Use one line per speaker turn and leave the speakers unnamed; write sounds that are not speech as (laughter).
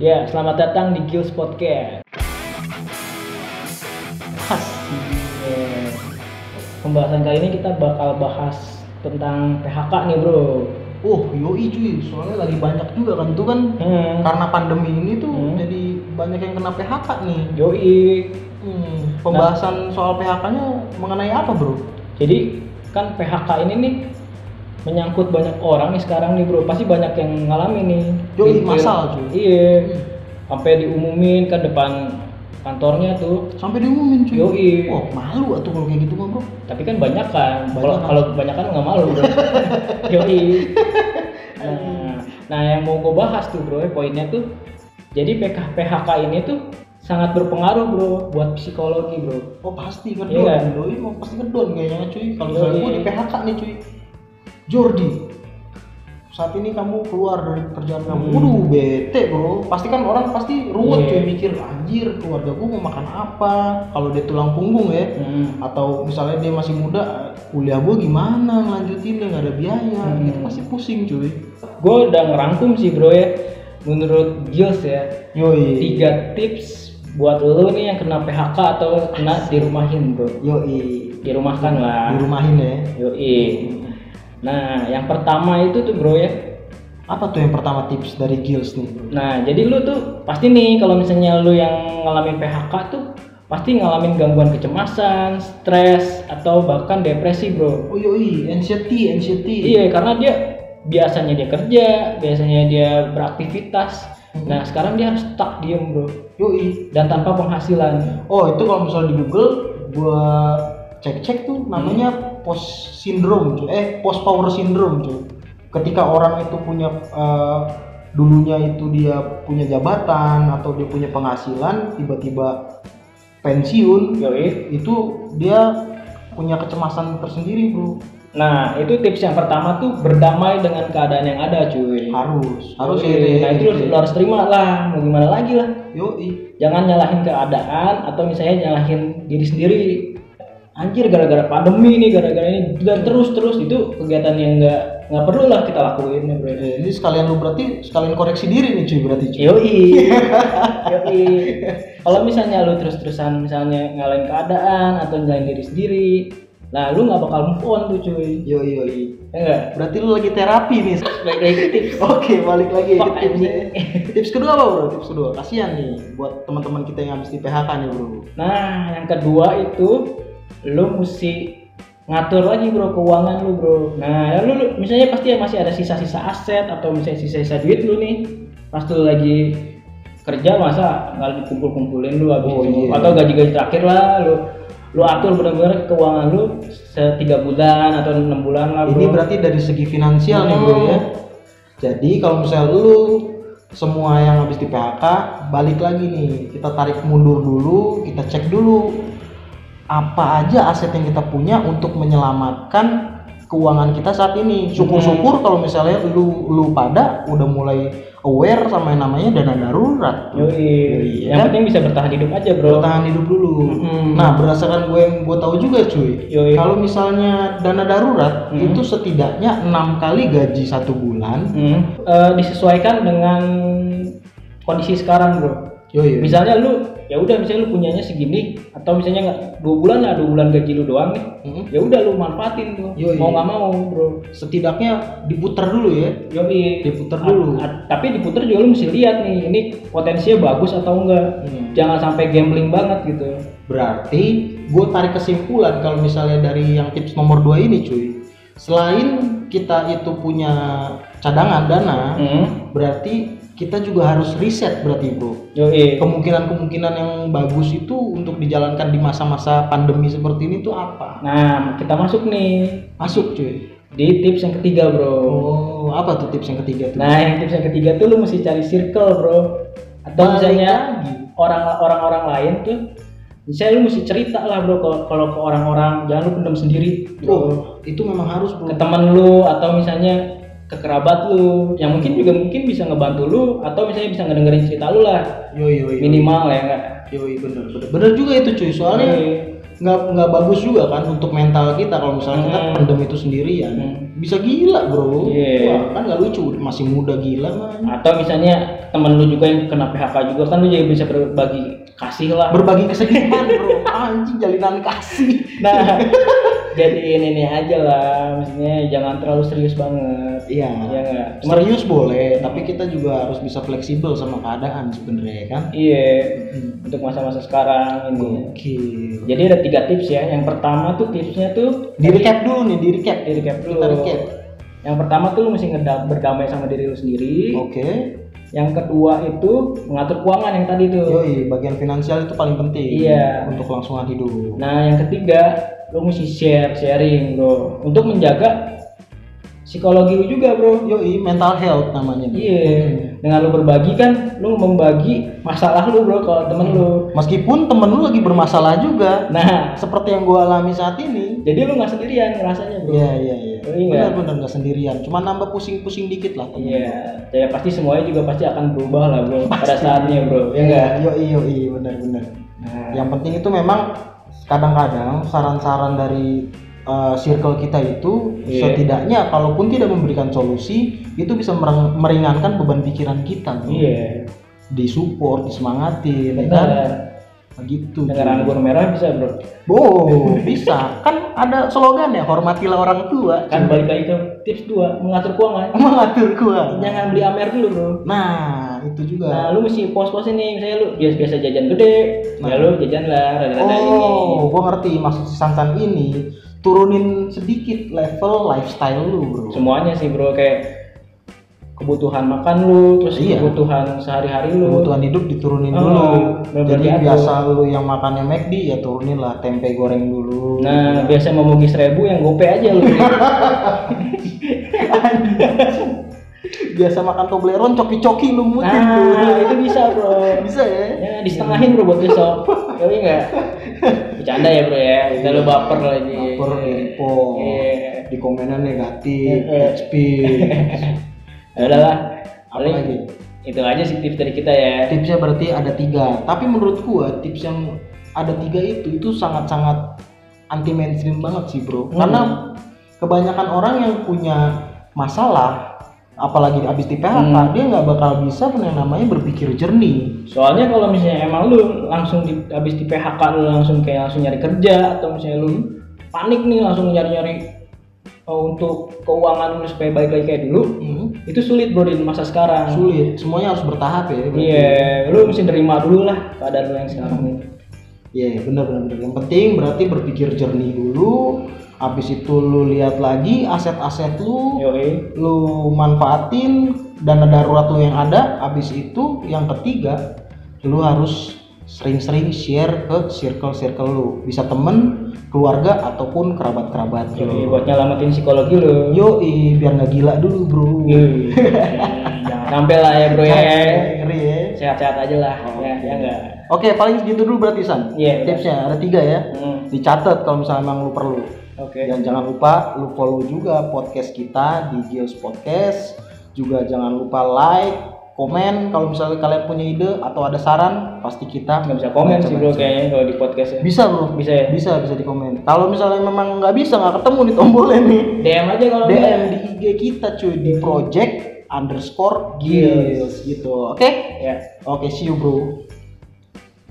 Ya, selamat datang di Gills Podcast. Khas. Iya. Pembahasan kali ini kita bakal bahas tentang PHK nih, Bro.
Oh, yoi cuy, soalnya lagi banyak juga kan tuh kan
Hmm.
karena pandemi ini tuh
Hmm.
jadi banyak yang kena PHK nih.
Yoi.
Hmm, pembahasan soal PHK-nya mengenai apa, Bro?
Jadi kan PHK ini nih menyangkut banyak orang nih sekarang nih, Bro. Pasti banyak yang ngalami nih.
Yoi,
Di-
massal, cuy.
Iya. Sampai diumumin ke depan kantornya tuh.
Sampai diumumin cuy.
Yoi.
Wah, malu atuh kalau kayak gitu mah, Bro.
Tapi kan banyak kan. Kalau
Banyak kan.
kalau kebanyakan nggak malu,
(laughs)
Bro. Yoi. Nah, nah yang mau gue bahas tuh, Bro, ya, poinnya tuh jadi PK PHK ini tuh sangat berpengaruh, Bro, buat psikologi, Bro.
Oh, pasti
Iya
ngedon.
kan?
Yoi, mau pasti ngedon kayaknya cuy. Kalau
Yoi.
misalnya gua di PHK nih, cuy. Jordi, saat ini kamu keluar dari kerjaan
Hmm.
kamu. Waduh, bete bro. Pasti kan orang pasti ruwet
Iya.
cuy mikir anjir keluarga gua mau makan apa. Kalau dia tulang punggung ya,
Hmm.
atau misalnya dia masih muda kuliah gue gimana ngelanjutin dia nggak ada biaya
Hmm.
itu pasti pusing cuy
Gue udah ngerangkum sih, Bro ya. Menurut Gils ya,
yoi
tiga tips buat lo nih yang kena PHK atau kena dirumahin, Bro.
yoi
Dirumahkan lah.
di rumahin ya
Yoi. Nah, yang pertama itu tuh, Bro ya,
apa tuh yang pertama tips dari Gils nih bro?
Nah, jadi lu tuh pasti nih kalau misalnya lu yang ngalamin PHK tuh pasti ngalamin gangguan kecemasan, stres atau bahkan depresi, Bro.
oh yoi anxiety anxiety
Iya, karena dia biasanya dia kerja, biasanya dia beraktivitas.
Mhm.
Nah, sekarang dia harus stuck diem, Bro,
yoi
dan tanpa penghasilan.
oh itu kalau misalnya di Google gue cek cek tuh namanya
Hmm.
post syndrome cuy eh post power syndrome cuy ketika orang itu punya eh, dulunya itu dia punya jabatan atau dia punya penghasilan tiba-tiba pensiun
Yoi.
itu dia punya kecemasan tersendiri bro
Nah, itu tips yang pertama tuh berdamai dengan keadaan yang ada, cuy.
harus harus ya.
Yoi. Nah, itu lu lu harus terima lah, mau gimana lagi lah.
yoi
jangan nyalahin keadaan atau misalnya nyalahin diri sendiri anjir gara-gara pandemi ini gara-gara ini dan terus-terus itu kegiatan yang nggak nggak perlu lah kita lakuin ya bro
Eh, ini sekalian lu berarti sekalian koreksi diri nih cuy berarti cuy
yoi yoi kalau misalnya lu terus-terusan misalnya ngalahin keadaan atau nyalahin diri sendiri nah lu nggak bakal move on tuh cuy
yoi yoi
ya enggak
berarti lu lagi terapi nih
baik baik tips
oke balik lagi ke
Fuck,
tipsnya.
anjing.
tips kedua apa bro tips kedua kasihan nih buat teman-teman kita yang habis di PHK nih bro
nah yang kedua itu lu mesti ngatur lagi bro keuangan lu bro nah ya lu, lu- misalnya pasti ya masih ada sisa-sisa aset atau misalnya sisa-sisa duit lu nih pas lu lagi kerja masa nggak dikumpul-kumpulin lu habis
Oh,
itu.
iya.
atau gaji-gaji terakhir lah lu lu atur benar-benar keuangan lu setiga bulan atau enam bulan lah bro
ini berarti dari segi finansial nih bro ya
Hmm.
jadi kalau misalnya lu semua yang habis di PHK balik lagi nih kita tarik mundur dulu kita cek dulu apa aja aset yang kita punya untuk menyelamatkan keuangan kita saat ini syukur-syukur kalau misalnya lu lu pada udah mulai aware sama yang namanya dana darurat
Yoi.
Yoi,
yang
ya.
penting bisa bertahan hidup aja bro
bertahan hidup dulu.
Mm-mm.
Nah, berdasarkan gue yang gue tahu juga cuy,
Yoi.
kalau misalnya dana darurat
Mm.
itu setidaknya enam kali gaji satu bulan.
Hmm. Eh, disesuaikan dengan kondisi sekarang bro
Yoi.
misalnya lu ya udah misalnya lu punyanya segini atau misalnya nggak dua bulan lah dua bulan gaji lu doang nih
Mm.
ya udah lu manfaatin tuh
Yoi.
mau nggak mau bro
Setidaknya diputar dulu ya.
Yoi.
Diputer dulu.
A- a- tapi diputer juga lu mesti lihat nih ini potensinya bagus atau enggak
Hmm.
jangan sampai gambling banget gitu
Berarti gue tarik kesimpulan kalau misalnya dari yang tips nomor dua ini cuy, selain kita itu punya cadangan dana,
hmm.
berarti kita juga harus riset berarti bro.
Yoi.
Kemungkinan-kemungkinan yang bagus itu untuk dijalankan di masa-masa pandemi seperti ini tuh apa?
nah kita masuk nih
Masuk cuy.
di tips yang ketiga bro
Oh, apa tuh tips yang ketiga tuh?
nah yang tips yang ketiga tuh lu mesti cari circle bro atau
Balik
misalnya
lagi.
orang orang-orang lain tuh misalnya lu mesti cerita lah bro kalau- kalau ke orang-orang jangan lu pendam sendiri bro
Oh, itu memang harus bro.
ke teman lu atau misalnya ke kerabat lu yang mungkin juga mungkin bisa ngebantu lu atau misalnya bisa ngedengerin cerita lu lah
Yoi yoi.
minimal ya enggak
Yoi bener bener. Bener juga itu cuy. Soalnya nggak nggak bagus juga kan untuk mental kita kalau misalnya kita
Hmm.
pendem itu sendirian
Hmm.
bisa gila bro
Iya.
Wah, kan nggak lucu masih muda gila man
atau misalnya temen lu juga yang kena PHK juga kan lu jadi bisa berbagi kasih lah
berbagi kesedihan bro anjing jalinan kasih
nah (laughs) jadi ini nih aja lah maksudnya jangan terlalu serius banget
iya
ya nggak cuma
serius boleh tapi kita juga harus bisa fleksibel sama keadaan sebenarnya kan
iya untuk masa-masa sekarang ini
gokil
jadi ada tiga tips ya yang pertama tuh tipsnya tuh
di recap dulu nih di recap
Di recap dulu.
kita recap
yang pertama tuh lu mesti ngeda- berdamai sama diri lu sendiri
oke
yang kedua itu mengatur keuangan yang tadi tuh
Yoi, bagian finansial itu paling penting
Iya.
untuk langsungan hidup.
Nah, yang ketiga, lo mesti share, sharing, bro. Untuk menjaga psikologi lo juga, bro.
Yoi, mental health namanya.
Iya. Dengan lo berbagi kan, lo membagi masalah lo, bro, ke temen lo.
Meskipun temen lu lagi bermasalah juga,
Nah,
seperti yang gua alami saat ini.
jadi lo nggak sendirian ngerasanya, bro.
Iya, iya, iya.
Oh, iya.
Benar-benar nggak sendirian. Cuma nambah pusing-pusing dikit lah. temen.
Iya. Ya pasti semuanya juga pasti akan berubah lah, bro. Pada saatnya, bro. Ya
Iya,
nggak?
yoi, yoi, benar-benar.
Nah,
Yang penting itu memang kadang-kadang saran-saran dari uh, circle kita itu
Iya.
setidaknya kalaupun tidak memberikan solusi itu bisa mereng- meringankan beban pikiran kita bro.
Iya.
disupport disemangatin ya kan
Dengar,
begitu
dengar anggur merah bisa, bro.
Wow, bisa. Kan ada slogan ya, hormatilah orang tua.
Kan balik lagi ke tips dua, mengatur keuangan.
mengatur gua.
Jangan beli amer dulu, bro.
Nah, itu
Nah,
juga.
lu mesti pos-pos ini, misalnya lu biasa-biasa jajan gede, ya
Nah.
lu jajan lah rada-rada
oh, gua ngerti maksud si Sansan ini. Turunin sedikit level lifestyle lu, bro.
ini. Semuanya sih, Bro, kayak kebutuhan makan lu, terus
Iya.
kebutuhan sehari-hari lu.
Kebutuhan hidup diturunin
Ah,
dulu.
bener-bener gitu.
Jadi
diatur.
biasa lu yang makannya McD ya turunin lah tempe goreng dulu. Gitu.
Nah, biasa mau mugis seribu yang gope aja lu.
(laughs) biasa makan Toblerone coki-coki lu mutin
nah,
tuh.
itu bisa, Bro.
Bisa ya?
Ya, disetengahin Bro buat
(laughs)
besok. Tapi enggak. Bercanda ya, Bro ya. Kita lu baper lagi.
Iya. Baper, diripo.
Iya.
Di komennya negatif,
Eh, eh.
HP.
(laughs) Ya udahlah.
Apa lagi?
Itu aja sih tips dari kita ya.
tipsnya berarti ada tiga tapi menurut gua tips yang ada tiga itu itu sangat sangat anti mainstream banget sih bro
Hmm.
karena kebanyakan orang yang punya masalah apalagi abis di PHK
Hmm.
dia nggak bakal bisa yang namanya berpikir jernih
Soalnya kalau misalnya emang lu langsung di, habis di PHK lu langsung kayak langsung nyari kerja atau misalnya lu panik nih langsung nyari-nyari uh, untuk keuangan lu supaya balik lagi kayak dulu,
Hmm,
itu sulit bro di masa sekarang.
sulit semuanya harus bertahap ya berarti.
Iya, lu mesti terima dulu lah keadaan lu yang sekarang ini.
Iya benar benar benar. Yang penting berarti berpikir jernih dulu. Habis itu lu lihat lagi aset-aset lu,
Yoi.
lu manfaatin dana darurat lu yang ada. Habis itu yang ketiga, lu harus sering-sering share ke circle-circle lu. Bisa temen, keluarga ataupun kerabat-kerabat
Yoi,
lu.
Iya, buat nyelamatin psikologi lu.
Yoi, biar nggak gila dulu bro.
Yoi. Jangan sampai lah ya Iya, bro ya.
Ngeri ya.
Sehat-sehat aja lah. Ya, ya enggak.
Oke, paling segitu dulu berarti San.
Iya, udah.
Tipsnya ada tiga ya.
Hmm,
Dicatat kalau misalnya emang lu perlu.
Oke.
Dan jangan lupa lu follow juga podcast kita di Geos Podcast. Juga jangan lupa like, komen kalau misalnya kalian punya ide atau ada saran, pasti kita
Nggak bisa komen sih bro
baca-baca.
kayaknya kalau di podcast ya.
Bisa bro,
Bisa ya?
bisa bisa di komen. Kalau misalnya memang nggak bisa nggak ketemu nih tombolnya nih.
DM aja kalau
DM di IG kita cuy di project underscore Geos gitu. Oke,
Ya.
oke see you bro.